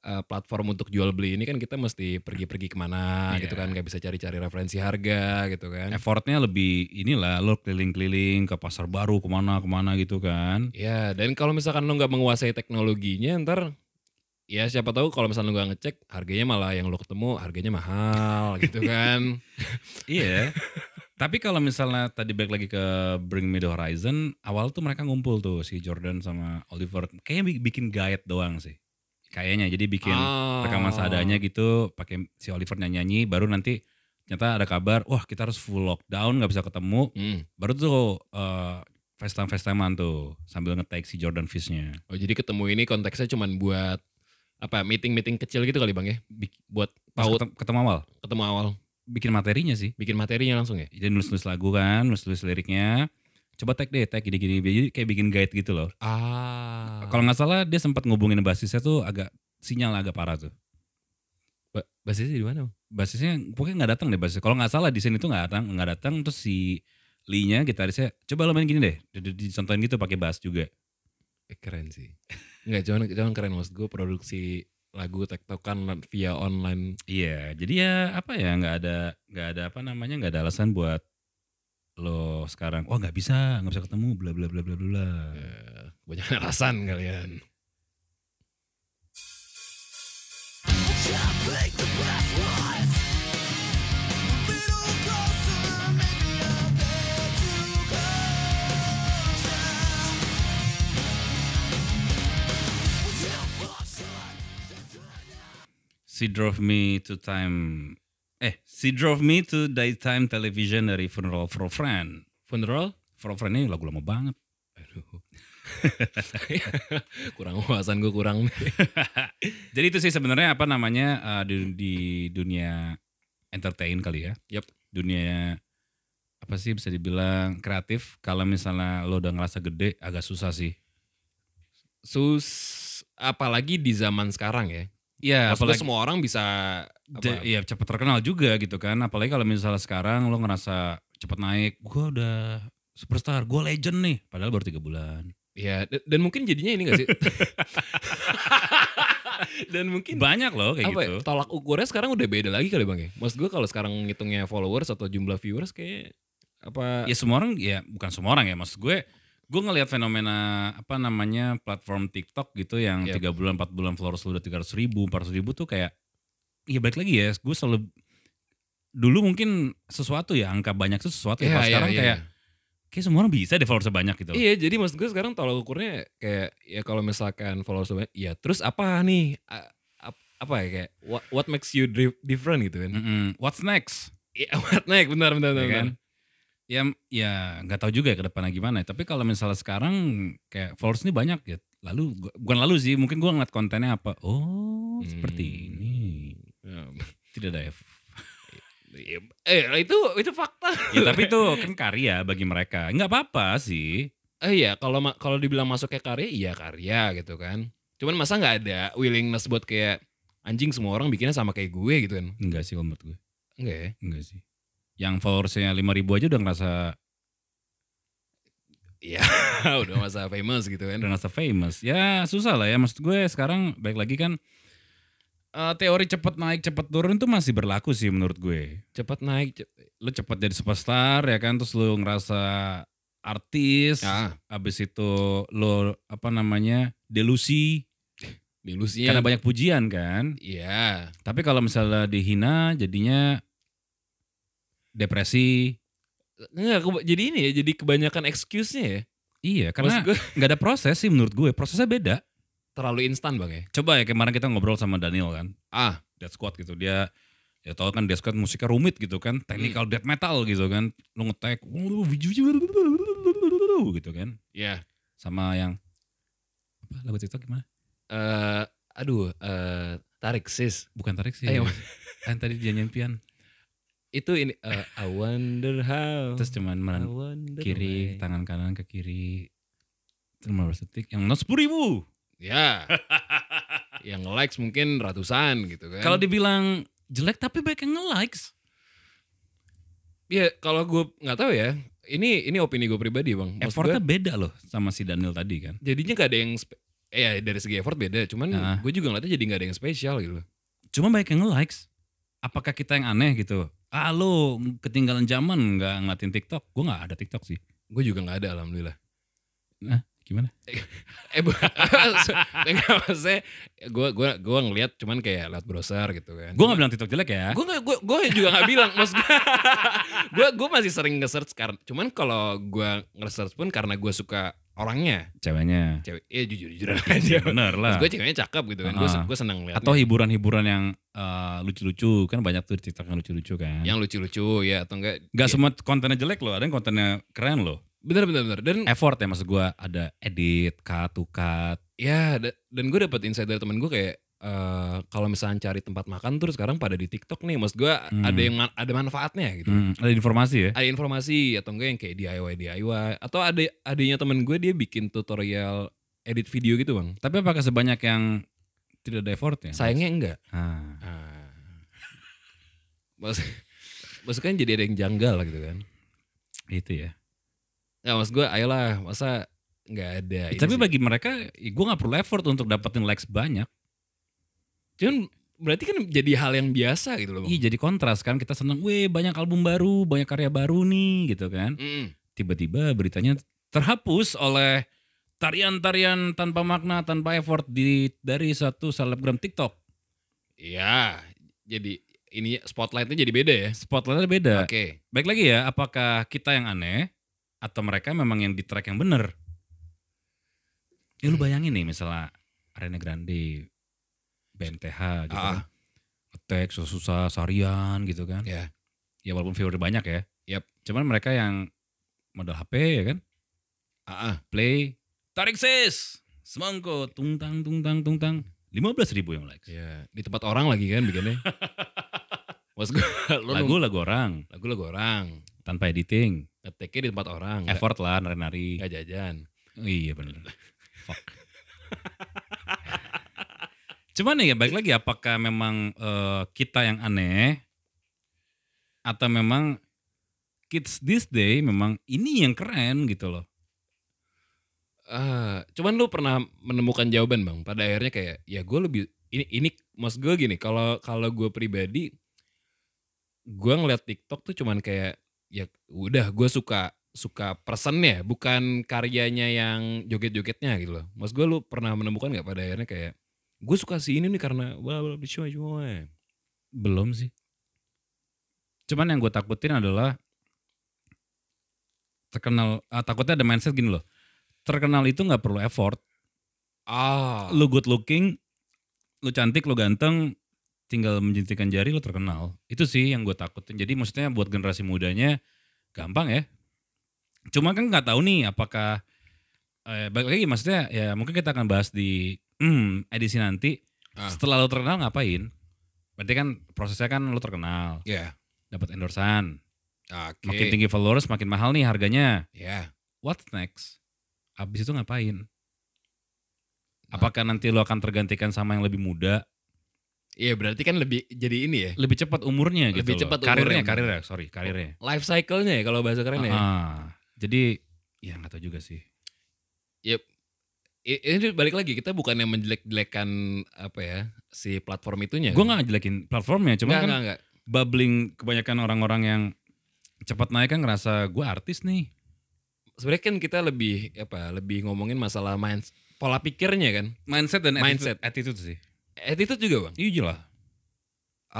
Speaker 2: eh, platform untuk jual beli ini kan kita mesti pergi-pergi kemana gitu
Speaker 1: Iya.
Speaker 2: kan, nggak bisa cari-cari referensi harga gitu kan.
Speaker 1: Effortnya lebih inilah lo keliling-keliling ke pasar baru kemana-kemana gitu kan.
Speaker 2: Ya, dan kalau misalkan lo nggak menguasai teknologinya, ntar ya siapa tahu kalau misalkan lo nggak ngecek, harganya malah yang lo ketemu harganya mahal gitu kan.
Speaker 1: Iya. Tapi kalau misalnya tadi balik lagi ke Bring Me The Horizon, awal tuh mereka ngumpul tuh si Jordan sama Oliver. Kayaknya bi- bikin guide doang sih. Kayaknya jadi bikin
Speaker 2: Ah.
Speaker 1: rekaman seadanya gitu, pakai si Oliver nyanyi-nyanyi, baru nanti ternyata ada kabar, wah kita harus full lockdown, nggak bisa ketemu.
Speaker 2: Hmm.
Speaker 1: Baru tuh eh FaceTime-FaceTimean tuh sambil nge-tag si Jordan Fish-nya.
Speaker 2: Oh jadi ketemu ini konteksnya cuman buat apa meeting-meeting kecil gitu kali bang ya, Bik- buat
Speaker 1: Pas
Speaker 2: tahu
Speaker 1: ketem- ketemu awal,
Speaker 2: ketemu awal,
Speaker 1: bikin materinya sih.
Speaker 2: bikin materinya langsung ya.
Speaker 1: Jadi nulis-nulis lagu kan, nulis-nulis liriknya. Coba tag deh, tag gini-gini. Jadi kayak bikin guide gitu loh.
Speaker 2: Ah,
Speaker 1: Kalau nggak salah dia sempat ngubungin basisnya tuh agak sinyal agak parah tuh.
Speaker 2: ba- basisnya di mana? Bang?
Speaker 1: Basisnya pokoknya nggak datang deh basisnya. Kalau nggak salah di sini tuh nggak datang, nggak datang terus si Lee-nya gitarisnya coba lo main gini deh. Di- di- Dicontohin gitu pakai bass juga.
Speaker 2: Eh, keren sih. Enggak, jangan jangan keren maksud gue produksi lagu tektokan via online.
Speaker 1: Iya, jadi ya apa ya nggak ada nggak ada apa namanya nggak ada alasan buat lo sekarang oh nggak bisa nggak bisa ketemu bla bla bla bla bla
Speaker 2: Eh, banyak alasan kalian.
Speaker 1: she drove me to time eh she drove me to daytime television dari funeral for a friend
Speaker 2: Funeral?
Speaker 1: for a friend ini lagu lama banget
Speaker 2: Aduh. kurang wawasan gue kurang.
Speaker 1: Jadi itu sih sebenarnya apa namanya uh, di, di dunia entertain kali ya.
Speaker 2: Yap.
Speaker 1: Dunia apa sih bisa dibilang kreatif kalau misalnya lo udah ngerasa gede agak susah sih.
Speaker 2: Sus apalagi di zaman sekarang ya.
Speaker 1: Iya,
Speaker 2: Maksudnya
Speaker 1: apalagi
Speaker 2: semua orang bisa apa,
Speaker 1: de- iya cepat terkenal juga gitu kan. Apalagi kalau misalnya sekarang lo ngerasa cepat naik, gua udah superstar, gua legend nih, padahal baru tiga bulan.
Speaker 2: ya d- dan mungkin jadinya ini gak sih? dan mungkin
Speaker 1: Banyak loh kayak
Speaker 2: apa ya,
Speaker 1: gitu.
Speaker 2: tolak ukurnya sekarang udah beda lagi kali Bang ya. Maksud gue kalau sekarang ngitungnya followers atau jumlah viewers kayak apa
Speaker 1: ya semua orang ya bukan semua orang ya maksud gue gue ngelihat fenomena apa namanya platform TikTok gitu yang
Speaker 2: Yap.
Speaker 1: tiga bulan 4 bulan followers lu udah 300 ribu 400 ribu tuh kayak ya balik lagi ya gue selalu dulu mungkin sesuatu ya angka banyak tuh sesuatu ya,
Speaker 2: Iya,
Speaker 1: Kalau
Speaker 2: iya,
Speaker 1: sekarang
Speaker 2: iya.
Speaker 1: kayak kayak semua orang bisa deh followers banyak gitu
Speaker 2: Iya, jadi maksud gue sekarang tolak ukurnya kayak ya kalau misalkan followers lu banyak, ya terus apa nih? A- ap- apa ya kayak what, what makes you dif- different gitu kan?
Speaker 1: Mm-mm. what's next
Speaker 2: Iya, what next? Bentar, bentar, bentar.
Speaker 1: ya kan?
Speaker 2: bentar.
Speaker 1: Ya ya nggak tahu juga ya ke depannya gimana. Tapi kalau misalnya sekarang kayak followers ini banyak ya. Lalu gua- bukan lalu sih, mungkin gua ngeliat kontennya apa. Oh,
Speaker 2: Hmm.
Speaker 1: seperti ini. Tidak ada F.
Speaker 2: Ya, Eh, itu itu fakta.
Speaker 1: ya tapi itu kan karya bagi mereka. Nggak apa-apa sih.
Speaker 2: Eh iya, kalau ma- kalau dibilang masuk ke karya, iya karya gitu kan. Cuman masa nggak ada willingness buat kayak anjing semua orang bikinnya sama kayak gue gitu kan.
Speaker 1: Enggak sih kalau menurut gue.
Speaker 2: Enggak ya?
Speaker 1: Enggak sih. Yang followersnya 5000 aja udah ngerasa
Speaker 2: Iya, udah masa famous gitu
Speaker 1: udah
Speaker 2: kan.
Speaker 1: ngerasa famous. Ya susah lah ya maksud gue sekarang baik lagi kan eh, teori cepet naik cepet turun tuh masih berlaku sih menurut gue.
Speaker 2: Cepat naik. cep-
Speaker 1: lu cepet jadi superstar ya kan terus lu ngerasa artis
Speaker 2: Ah,
Speaker 1: habis itu lu apa namanya delusi
Speaker 2: ilusinya.
Speaker 1: karena banyak pujian kan
Speaker 2: Iya.
Speaker 1: tapi kalau misalnya dihina jadinya depresi
Speaker 2: Enggak, keba- jadi ini ya, jadi kebanyakan excuse-nya ya.
Speaker 1: iya
Speaker 2: Karena
Speaker 1: karena nggak ada proses sih menurut gue prosesnya beda
Speaker 2: terlalu instan bang ya.
Speaker 1: coba ya kemarin kita ngobrol sama Daniel kan
Speaker 2: Ah,
Speaker 1: Death Squad gitu dia ya tau kan Death Squad musiknya rumit gitu kan technical death metal gitu kan lu ngetek gitu kan
Speaker 2: ya.
Speaker 1: sama yang apa lagu TikTok gimana?
Speaker 2: Eh, aduh, eh, tarik sis.
Speaker 1: Bukan tarik sih.
Speaker 2: Ayo.
Speaker 1: Kan tadi dia nyempian.
Speaker 2: Itu ini, eh, I wonder how.
Speaker 1: Terus cuman
Speaker 2: I
Speaker 1: meren
Speaker 2: wonder
Speaker 1: kiri,
Speaker 2: why.
Speaker 1: tangan kanan ke kiri. Terus 15 detik. Yang not 10 ribu.
Speaker 2: Ya. yang likes mungkin ratusan gitu kan.
Speaker 1: Kalau dibilang jelek tapi banyak yang nge-likes.
Speaker 2: ya kalau gue nggak tahu ya. Ini ini opini gue pribadi bang. Maksud
Speaker 1: Effortnya
Speaker 2: gua,
Speaker 1: beda loh sama si Daniel tadi kan.
Speaker 2: jadinya gak ada yang spe- eh, ya dari segi effort beda. Cuman
Speaker 1: Ah.
Speaker 2: gue juga ngeliatnya jadi gak ada yang spesial gitu. loh.
Speaker 1: Cuma banyak yang nge-likes. Apakah kita yang aneh gitu? Ah lo ketinggalan zaman nggak ngeliatin TikTok. Gue nggak ada TikTok sih.
Speaker 2: Gue juga nggak ada alhamdulillah.
Speaker 1: Nah gimana?
Speaker 2: Eh bu- enggak maksudnya gue gue gue ngeliat cuman kayak lewat browser gitu kan.
Speaker 1: Gue nggak bilang TikTok jelek ya.
Speaker 2: gue gue gue juga nggak bilang maksud gue gue masih sering nge-search karena cuman kalau gue nge-search pun karena gue suka orangnya
Speaker 1: Ceweknya.
Speaker 2: cewek ya jujur jujuran
Speaker 1: Ya,
Speaker 2: aja
Speaker 1: bener lah.
Speaker 2: gue ceweknya cakep gitu kan gue
Speaker 1: Ah.
Speaker 2: gue seneng lihat
Speaker 1: Atau hiburan-hiburan yang eh, lucu-lucu. Kan banyak tuh di TikTok yang lucu-lucu kan.
Speaker 2: yang lucu-lucu ya atau enggak
Speaker 1: Gak semua kontennya jelek loh, ada yang kontennya keren loh.
Speaker 2: bener bener bener dan
Speaker 1: Effort ya maksud gue ada edit, cut, to cut.
Speaker 2: ya da- dan gue dapet insight dari temen gue kayak eh, kalau misalnya cari tempat makan terus sekarang pada di TikTok nih maksud gue
Speaker 1: Hmm.
Speaker 2: ada yang ma- ada manfaatnya gitu
Speaker 1: Hmm, ada informasi ya.
Speaker 2: ada informasi atau enggak yang kayak DIY DIY atau ada adanya temen gue dia bikin tutorial edit video gitu bang
Speaker 1: Tapi apakah sebanyak yang tidak ada effortnya?
Speaker 2: sayangnya enggak
Speaker 1: Ah,
Speaker 2: Ah. Maksud, maksudnya kan jadi ada yang janggal gitu kan.
Speaker 1: itu ya.
Speaker 2: Ya maksud gue ayolah masa nggak ada.
Speaker 1: Eh,
Speaker 2: ini
Speaker 1: tapi
Speaker 2: Iya sih.
Speaker 1: bagi mereka, gue gak perlu effort untuk dapetin likes banyak.
Speaker 2: Cuman berarti kan jadi hal yang biasa gitu loh. Bang.
Speaker 1: Ih jadi kontras kan, kita seneng, weh banyak album baru, banyak karya baru nih gitu kan.
Speaker 2: Mm-mm.
Speaker 1: Tiba-tiba beritanya terhapus oleh tarian-tarian tanpa makna, tanpa effort di dari satu selebgram TikTok.
Speaker 2: Iya. Jadi ini spotlightnya jadi beda ya.
Speaker 1: Spotlightnya beda.
Speaker 2: Oke.
Speaker 1: Baik lagi ya, apakah kita yang aneh atau mereka memang yang di track yang bener? Ya
Speaker 2: Hmm.
Speaker 1: lu bayangin nih misalnya Arena Grande, BMTH gitu kan.
Speaker 2: Ah.
Speaker 1: Attack, susah Sarian gitu kan.
Speaker 2: Ya.
Speaker 1: Ya walaupun viewer banyak ya.
Speaker 2: Yap.
Speaker 1: Cuman mereka yang modal HP ya kan,
Speaker 2: Ah, ah.
Speaker 1: play, tarik sis, semangko, tung tang tung tang tung tang. 15 ribu yang likes.
Speaker 2: Iya. Di tempat orang lagi kan bikinnya. maksud gue lu nung-
Speaker 1: Lagu-lagu orang,
Speaker 2: lagu lagu orang.
Speaker 1: tanpa editing,
Speaker 2: Ngeteknya di tempat orang. nggak-
Speaker 1: effort lah nari-nari.
Speaker 2: nggak jajan.
Speaker 1: Oh, iya benar. Fuck. Cuman ya balik lagi apakah memang eh, kita yang aneh atau memang kids this day memang ini yang keren gitu loh.
Speaker 2: Ah, cuman lu pernah menemukan jawaban bang pada akhirnya kayak ya gue lebih ini ini mas gue gini kalau kalau gue pribadi gue ngeliat TikTok tuh cuman kayak ya udah gue suka suka personnya bukan karyanya yang joget-jogetnya gitu loh mas gue lu pernah menemukan nggak pada akhirnya kayak gue suka si ini nih karena bla bla bla cuma cuma
Speaker 1: Belum sih. Cuman yang gue takutin adalah terkenal ah, takutnya ada mindset gini loh. Terkenal itu nggak perlu effort.
Speaker 2: ah
Speaker 1: Lu good looking, lu cantik, lu ganteng, tinggal menjentikan jari lu terkenal. Itu sih yang gue takutin. Jadi maksudnya buat generasi mudanya gampang ya. Cuma kan nggak tahu nih apakah eh, balik lagi maksudnya ya mungkin kita akan bahas di hmm, edisi nanti.
Speaker 2: Ah.
Speaker 1: Setelah lu terkenal ngapain? Berarti kan prosesnya kan lu terkenal,
Speaker 2: ya
Speaker 1: dapat endorsan,
Speaker 2: oke
Speaker 1: makin tinggi followers makin mahal nih harganya.
Speaker 2: ya
Speaker 1: What's next? Abis itu ngapain?
Speaker 2: Nah.
Speaker 1: Apakah nanti lu akan tergantikan sama yang lebih muda?
Speaker 2: Iya berarti kan lebih jadi ini ya
Speaker 1: lebih cepat umurnya gitu
Speaker 2: Lebih
Speaker 1: loh.
Speaker 2: cepat
Speaker 1: karirnya
Speaker 2: umurnya.
Speaker 1: karirnya sorry karirnya
Speaker 2: life cycle-nya ya kalau bahasa keren ya
Speaker 1: Ah, jadi ya nggak tahu juga sih
Speaker 2: I- ini balik lagi kita bukan yang menjelek-jelekan apa ya si platform itunya.
Speaker 1: gue nggak ngejelekin platformnya cuma
Speaker 2: Ya. Nggak,
Speaker 1: kan
Speaker 2: nggak, nggak.
Speaker 1: bubbling kebanyakan orang-orang yang cepat naik kan ngerasa gue artis nih
Speaker 2: Sebenarnya kan kita lebih apa? Lebih ngomongin masalah mind pola pikirnya kan.
Speaker 1: mindset dan
Speaker 2: Mindset.
Speaker 1: attitude, attitude sih
Speaker 2: Attitude juga bang.
Speaker 1: iya lah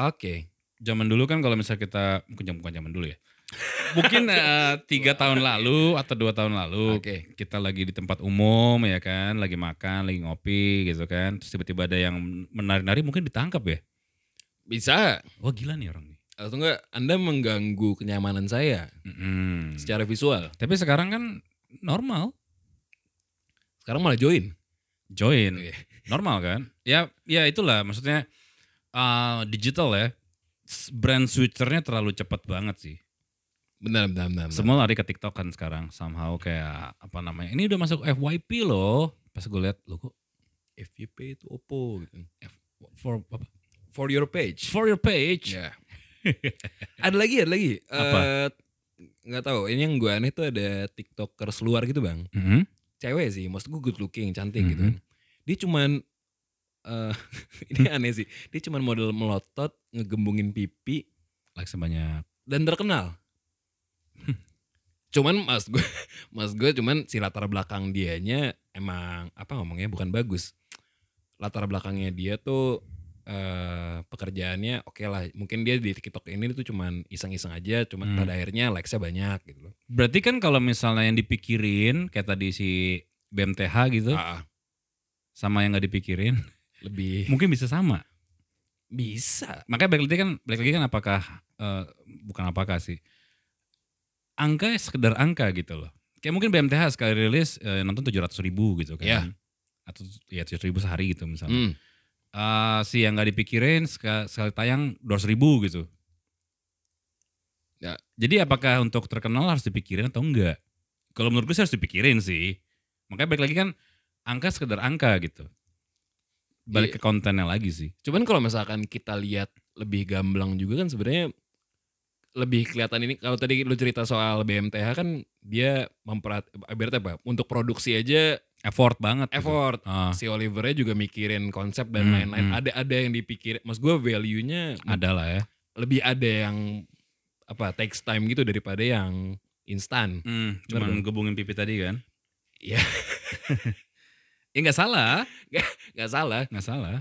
Speaker 2: Oke.
Speaker 1: zaman dulu kan kalau misalnya kita mungkin jam- bukan zaman dulu ya mungkin eh, tiga tahun lalu atau dua tahun lalu
Speaker 2: Oke.
Speaker 1: kita lagi di tempat umum ya kan lagi makan lagi ngopi gitu kan terus tiba-tiba ada yang menari-nari mungkin ditangkap ya
Speaker 2: Bisa
Speaker 1: wah gila nih orang nih
Speaker 2: atau enggak Anda mengganggu kenyamanan saya
Speaker 1: Hmm. Mm-mm.
Speaker 2: secara visual.
Speaker 1: Tapi sekarang kan normal
Speaker 2: Sekarang malah join.
Speaker 1: join,
Speaker 2: Iya.
Speaker 1: normal kan? Ya, ya itulah maksudnya uh, digital ya. S- Brand switchernya terlalu cepat banget sih.
Speaker 2: Benar, benar, benar. benar.
Speaker 1: Semua lari ke TikTok kan sekarang somehow kayak apa namanya? Ini udah masuk FYP loh. Pas gue lihat lo kok
Speaker 2: if you pay to Oppo gitu.
Speaker 1: For apa?
Speaker 2: For your page.
Speaker 1: For your page.
Speaker 2: Ya. ada lagi, ada lagi.
Speaker 1: Apa?
Speaker 2: Eh, nggak tahu. Ini yang gue aneh tuh ada tiktokers luar gitu bang.
Speaker 1: Mhm.
Speaker 2: Cewek sih, maksud gue good looking, cantik gitu.
Speaker 1: Mhm.
Speaker 2: kan. Dia cuman eh ini aneh sih. Dia cuman model melotot, ngegembungin pipi
Speaker 1: Like sebanyak
Speaker 2: dan terkenal. Cuman mas gue, mas gue cuman si latar belakang dianya emang apa ngomongnya bukan bagus. Latar belakangnya dia tuh eh pekerjaannya oke lah. Mungkin dia di TikTok ini tuh cuman iseng-iseng aja, cuman
Speaker 1: Hmm.
Speaker 2: pada akhirnya likes-nya banyak gitu loh.
Speaker 1: Berarti kan kalau misalnya yang dipikirin kayak tadi si BMTH gitu
Speaker 2: Ah, ah,
Speaker 1: sama yang nggak dipikirin
Speaker 2: lebih
Speaker 1: mungkin bisa sama.
Speaker 2: bisa.
Speaker 1: Makanya balik lagi kan balik lagi kan apakah eh, bukan apakah sih angka ya sekedar angka gitu loh. Kayak mungkin BMTH sekali rilis eh, nonton 700 ribu gitu kan.
Speaker 2: Iya.
Speaker 1: Atau ya 700 ribu sehari gitu misalnya.
Speaker 2: Hmm.
Speaker 1: Eh, si yang nggak dipikirin seka- sekali tayang 200 ribu gitu.
Speaker 2: Ya.
Speaker 1: Jadi apakah untuk terkenal harus dipikirin atau enggak? Kalau menurut gue sih harus dipikirin sih. Makanya balik lagi kan angka sekedar angka gitu. Balik
Speaker 2: Iya.
Speaker 1: ke kontennya lagi sih.
Speaker 2: Cuman kalau misalkan kita lihat lebih gamblang juga kan sebenarnya lebih kelihatan ini kalau tadi lu cerita soal BMTH kan dia memperat ibaratnya apa untuk produksi aja
Speaker 1: Effort banget. gitu.
Speaker 2: effort
Speaker 1: Ah,
Speaker 2: si Olivernya juga mikirin konsep dan
Speaker 1: Hmm,
Speaker 2: lain-lain
Speaker 1: hmm.
Speaker 2: ada ada yang dipikir mas gue value-nya
Speaker 1: ada lah ya.
Speaker 2: lebih ada yang apa takes time gitu daripada yang instan
Speaker 1: Hmm,
Speaker 2: Bener
Speaker 1: cuman
Speaker 2: dong.
Speaker 1: gebungin pipi tadi kan.
Speaker 2: Iya.
Speaker 1: ya nggak salah.
Speaker 2: nggak salah
Speaker 1: Nggak salah.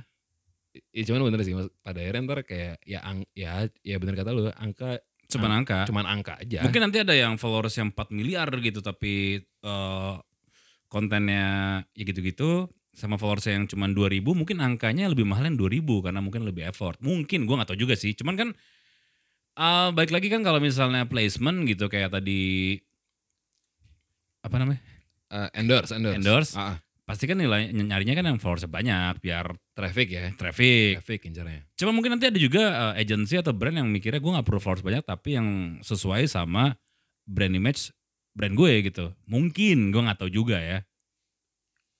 Speaker 2: ya, cuman bener sih mas pada akhirnya ntar kayak ya ang- ya ya bener kata lu angka
Speaker 1: Cuman angka.
Speaker 2: cuman angka aja
Speaker 1: Mungkin nanti ada yang followers yang 4 miliar gitu tapi eh, kontennya ya gitu-gitu sama followers yang cuma 2000 mungkin angkanya lebih mahal yang 2000 karena mungkin lebih effort. Mungkin gua nggak tahu juga sih. Cuman kan eh baik lagi kan kalau misalnya placement gitu kayak tadi apa namanya?
Speaker 2: Eh, endorse endorse
Speaker 1: Endorse.
Speaker 2: Ah, ah.
Speaker 1: Pasti kan nilai nyarinya kan yang followers banyak biar
Speaker 2: traffic ya
Speaker 1: traffic.
Speaker 2: traffic incarnya
Speaker 1: Cuma mungkin nanti ada juga eh, agency atau brand yang mikirnya gue gak perlu followers banyak tapi yang sesuai sama brand image brand gue gitu. Mungkin gue gak tahu juga ya.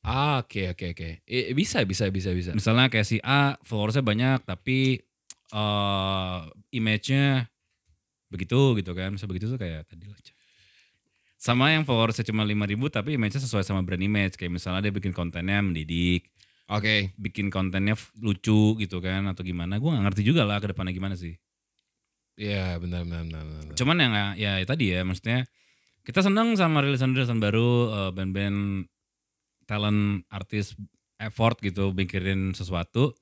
Speaker 2: ah oke oke oke Eh, bisa bisa bisa bisa
Speaker 1: Misalnya kayak si A followersnya banyak tapi eh image-nya begitu gitu kan. Misalnya begitu tuh kayak tadi lah. Sama yang followersnya cuma 5000 tapi image-nya sesuai sama brand image. Kayak misalnya dia bikin kontennya mendidik,
Speaker 2: oke
Speaker 1: bikin kontennya f- lucu gitu kan atau gimana. Gue gak ngerti juga lah ke depannya gimana sih.
Speaker 2: Iya benar benar benar benar.
Speaker 1: Cuman yang ya, ya tadi ya maksudnya kita senang sama rilisan-rilisan baru eh, band-band talent artis effort gitu mikirin sesuatu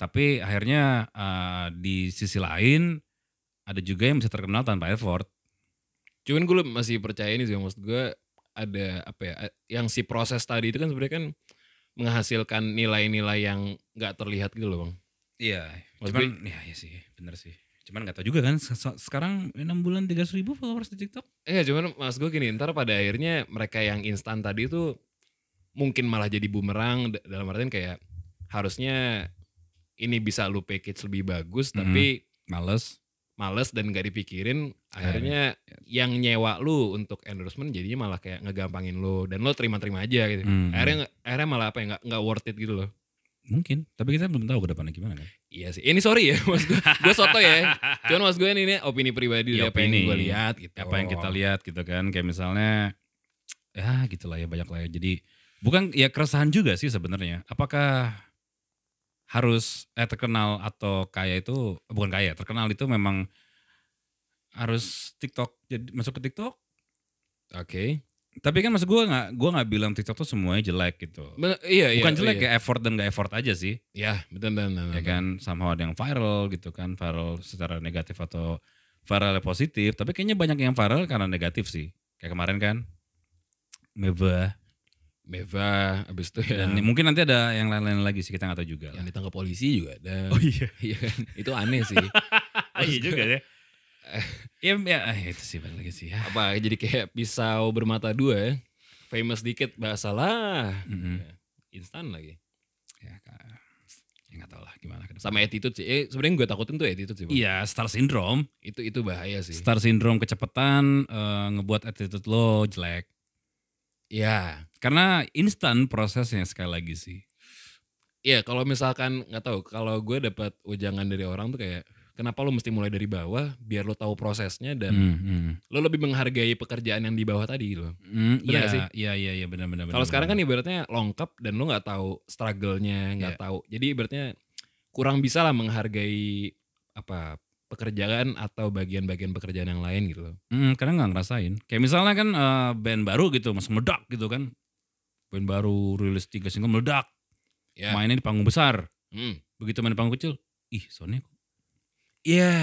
Speaker 1: tapi akhirnya eh, di sisi lain ada juga yang bisa terkenal tanpa effort
Speaker 2: Cuman gue masih percaya ini sih maksud gue ada apa ya a- yang si proses tadi itu kan sebenarnya kan menghasilkan nilai-nilai yang nggak terlihat gitu loh bang.
Speaker 1: iya
Speaker 2: Maksudnya-
Speaker 1: cuman ya, iya sih bener sih cuman nggak tahu juga kan se- se- sekarang 6 bulan 300 ribu followers di TikTok
Speaker 2: Enggak Iya, cuman mas gue gini ntar pada akhirnya mereka yang instan tadi itu mungkin malah jadi bumerang d- dalam artian kayak harusnya ini bisa lu package lebih bagus
Speaker 1: Mhm.
Speaker 2: tapi
Speaker 1: males
Speaker 2: males dan gak dipikirin
Speaker 1: Nah,
Speaker 2: akhirnya
Speaker 1: iya.
Speaker 2: yang nyewa lu untuk endorsement jadinya malah kayak ngegampangin lu dan lu terima-terima aja gitu.
Speaker 1: Hmm.
Speaker 2: Akhirnya akhirnya malah apa ya nggak nggak worth it gitu loh.
Speaker 1: mungkin tapi kita belum tahu ke depannya gimana kan
Speaker 2: Iya sih. Ini sorry ya Mas gue. Gue soto ya. Cuman Mas gue ini, ini opini pribadi
Speaker 1: Iya,
Speaker 2: dari apa yang
Speaker 1: opini.
Speaker 2: gue lihat gitu.
Speaker 1: apa yang kita lihat gitu kan kayak misalnya ya gitulah ya banyak lah ya jadi bukan ya keresahan juga sih sebenarnya apakah harus eh terkenal atau kaya itu bukan kaya terkenal itu memang harus TikTok jadi masuk ke TikTok
Speaker 2: Oke.
Speaker 1: tapi kan maksud gue nggak gua nggak bilang TikTok tuh semuanya jelek gitu
Speaker 2: Men- Iya iya.
Speaker 1: bukan jelek ya
Speaker 2: iya.
Speaker 1: effort dan gak effort aja sih
Speaker 2: Iya betul betul. betul,
Speaker 1: ya
Speaker 2: betul.
Speaker 1: kan sama ada yang viral gitu kan viral secara negatif atau viralnya positif tapi kayaknya banyak yang viral karena negatif sih kayak kemarin kan Meba
Speaker 2: Meva abis itu ya.
Speaker 1: dan mungkin nanti ada yang lain-lain lagi sih kita nggak tahu juga
Speaker 2: yang ditangkap polisi juga ada.
Speaker 1: iya
Speaker 2: Iya kan? Itu aneh sih.
Speaker 1: iya juga ya ya, ya ah, itu sih balik lagi sih ya
Speaker 2: apa jadi kayak pisau bermata dua ya. Famous dikit bahasa lah.
Speaker 1: Mm-mm.
Speaker 2: Instan lagi.
Speaker 1: ya ka- ya nggak tahu lah gimana ke depan.
Speaker 2: Sama attitude sih. Eh, sebenarnya gue takutin tuh attitude sih. Bang.
Speaker 1: iya star syndrome
Speaker 2: Itu itu bahaya sih.
Speaker 1: star syndrome kecepatan eh, ngebuat attitude lo jelek
Speaker 2: Ya,
Speaker 1: karena instan prosesnya sekali lagi sih
Speaker 2: Iya, kalau misalkan nggak tahu, kalau gue dapat ujangan dari orang tuh kayak kenapa lo mesti mulai dari bawah biar lo tahu prosesnya dan
Speaker 1: Hmm, hmm.
Speaker 2: lo lebih menghargai pekerjaan yang di bawah tadi gitu. loh.
Speaker 1: Hmm,
Speaker 2: Benar nggak sih?
Speaker 1: Iya, iya, iya, iya, benar, benar.
Speaker 2: Kalau sekarang kan ibaratnya longkap dan lo nggak tahu struggle-nya, nggak
Speaker 1: Iya.
Speaker 2: tahu. Jadi ibaratnya kurang bisa lah menghargai apa pekerjaan atau bagian-bagian pekerjaan yang lain gitu loh.
Speaker 1: Hmm, karena nggak ngerasain. Kayak misalnya kan eh, band baru gitu, mas meledak gitu kan. Band baru rilis tiga single meledak.
Speaker 2: Ya.
Speaker 1: Mainnya di panggung besar.
Speaker 2: Hmm.
Speaker 1: Begitu main di panggung kecil, ih soundnya kok
Speaker 2: Iya.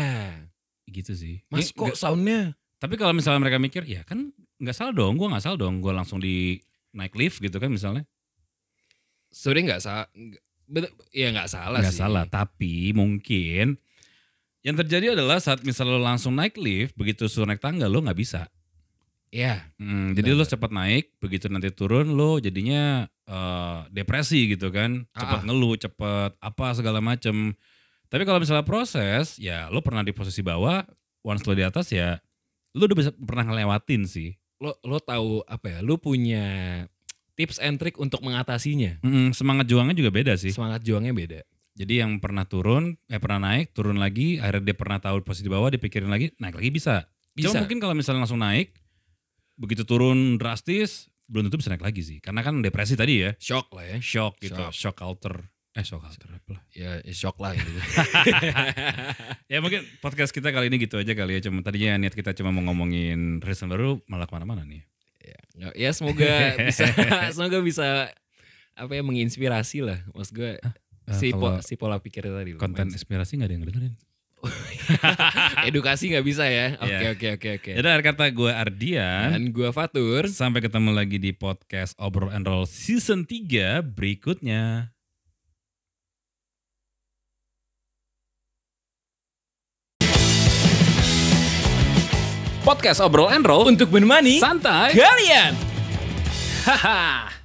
Speaker 1: gitu sih.
Speaker 2: Mas
Speaker 1: Ini
Speaker 2: kok
Speaker 1: nggak-
Speaker 2: soundnya?
Speaker 1: tapi kalau misalnya mereka mikir, ya kan nggak salah dong, gua nggak salah dong, gua langsung di naik lift gitu kan misalnya.
Speaker 2: Sebenarnya nggak salah. Ya nggak salah
Speaker 1: Nggak
Speaker 2: sih.
Speaker 1: salah, tapi mungkin yang terjadi adalah saat misalnya lo langsung naik lift, begitu suruh naik tangga lo nggak bisa.
Speaker 2: Iya.
Speaker 1: Hmm, jadi lo cepat naik, begitu nanti turun lo jadinya eh, depresi gitu kan, cepat
Speaker 2: Ah.
Speaker 1: ngeluh, cepat apa segala macem. Tapi kalau misalnya proses, ya lo pernah di posisi bawah, once lo di atas ya lo udah bisa pernah ngelewatin sih.
Speaker 2: Lo lo tahu apa ya? Lo punya tips and trick untuk mengatasinya.
Speaker 1: Mm, semangat juangnya juga beda sih.
Speaker 2: Semangat juangnya beda.
Speaker 1: Jadi yang pernah turun, eh pernah naik, turun lagi, akhirnya dia pernah tahu posisi di bawah, dipikirin lagi, naik lagi bisa.
Speaker 2: Bisa.
Speaker 1: Cuma mungkin kalau misalnya langsung naik, begitu turun drastis, belum tentu bisa naik lagi sih. Karena kan depresi tadi ya.
Speaker 2: Shock lah ya.
Speaker 1: shock gitu,
Speaker 2: Shock.
Speaker 1: shock alter. Eh shock alter apa lah.
Speaker 2: Ya, ya shock lah gitu.
Speaker 1: Ya mungkin podcast kita kali ini gitu aja kali ya. Cuma tadinya niat kita cuma mau ngomongin rilis yang baru malah kemana-mana nih.
Speaker 2: ya, nggak- ya semoga bisa semoga bisa apa ya menginspirasi lah. Mas gue
Speaker 1: eh,
Speaker 2: si, po-
Speaker 1: kalau
Speaker 2: si pola pikir tadi. lumayan
Speaker 1: Konten
Speaker 2: sih.
Speaker 1: inspirasi gak ada yang dengerin.
Speaker 2: edukasi nggak bisa ya. Oke
Speaker 1: Iya.
Speaker 2: oke oke oke.
Speaker 1: Yaudah akhir kata gue Ardian.
Speaker 2: Dan gue Fatur.
Speaker 1: Sampai ketemu lagi di podcast Obrol and Roll season 3 berikutnya.
Speaker 4: Podcast Obrol and Roll
Speaker 2: Untuk menemani
Speaker 4: santai
Speaker 2: kalian.
Speaker 4: Haha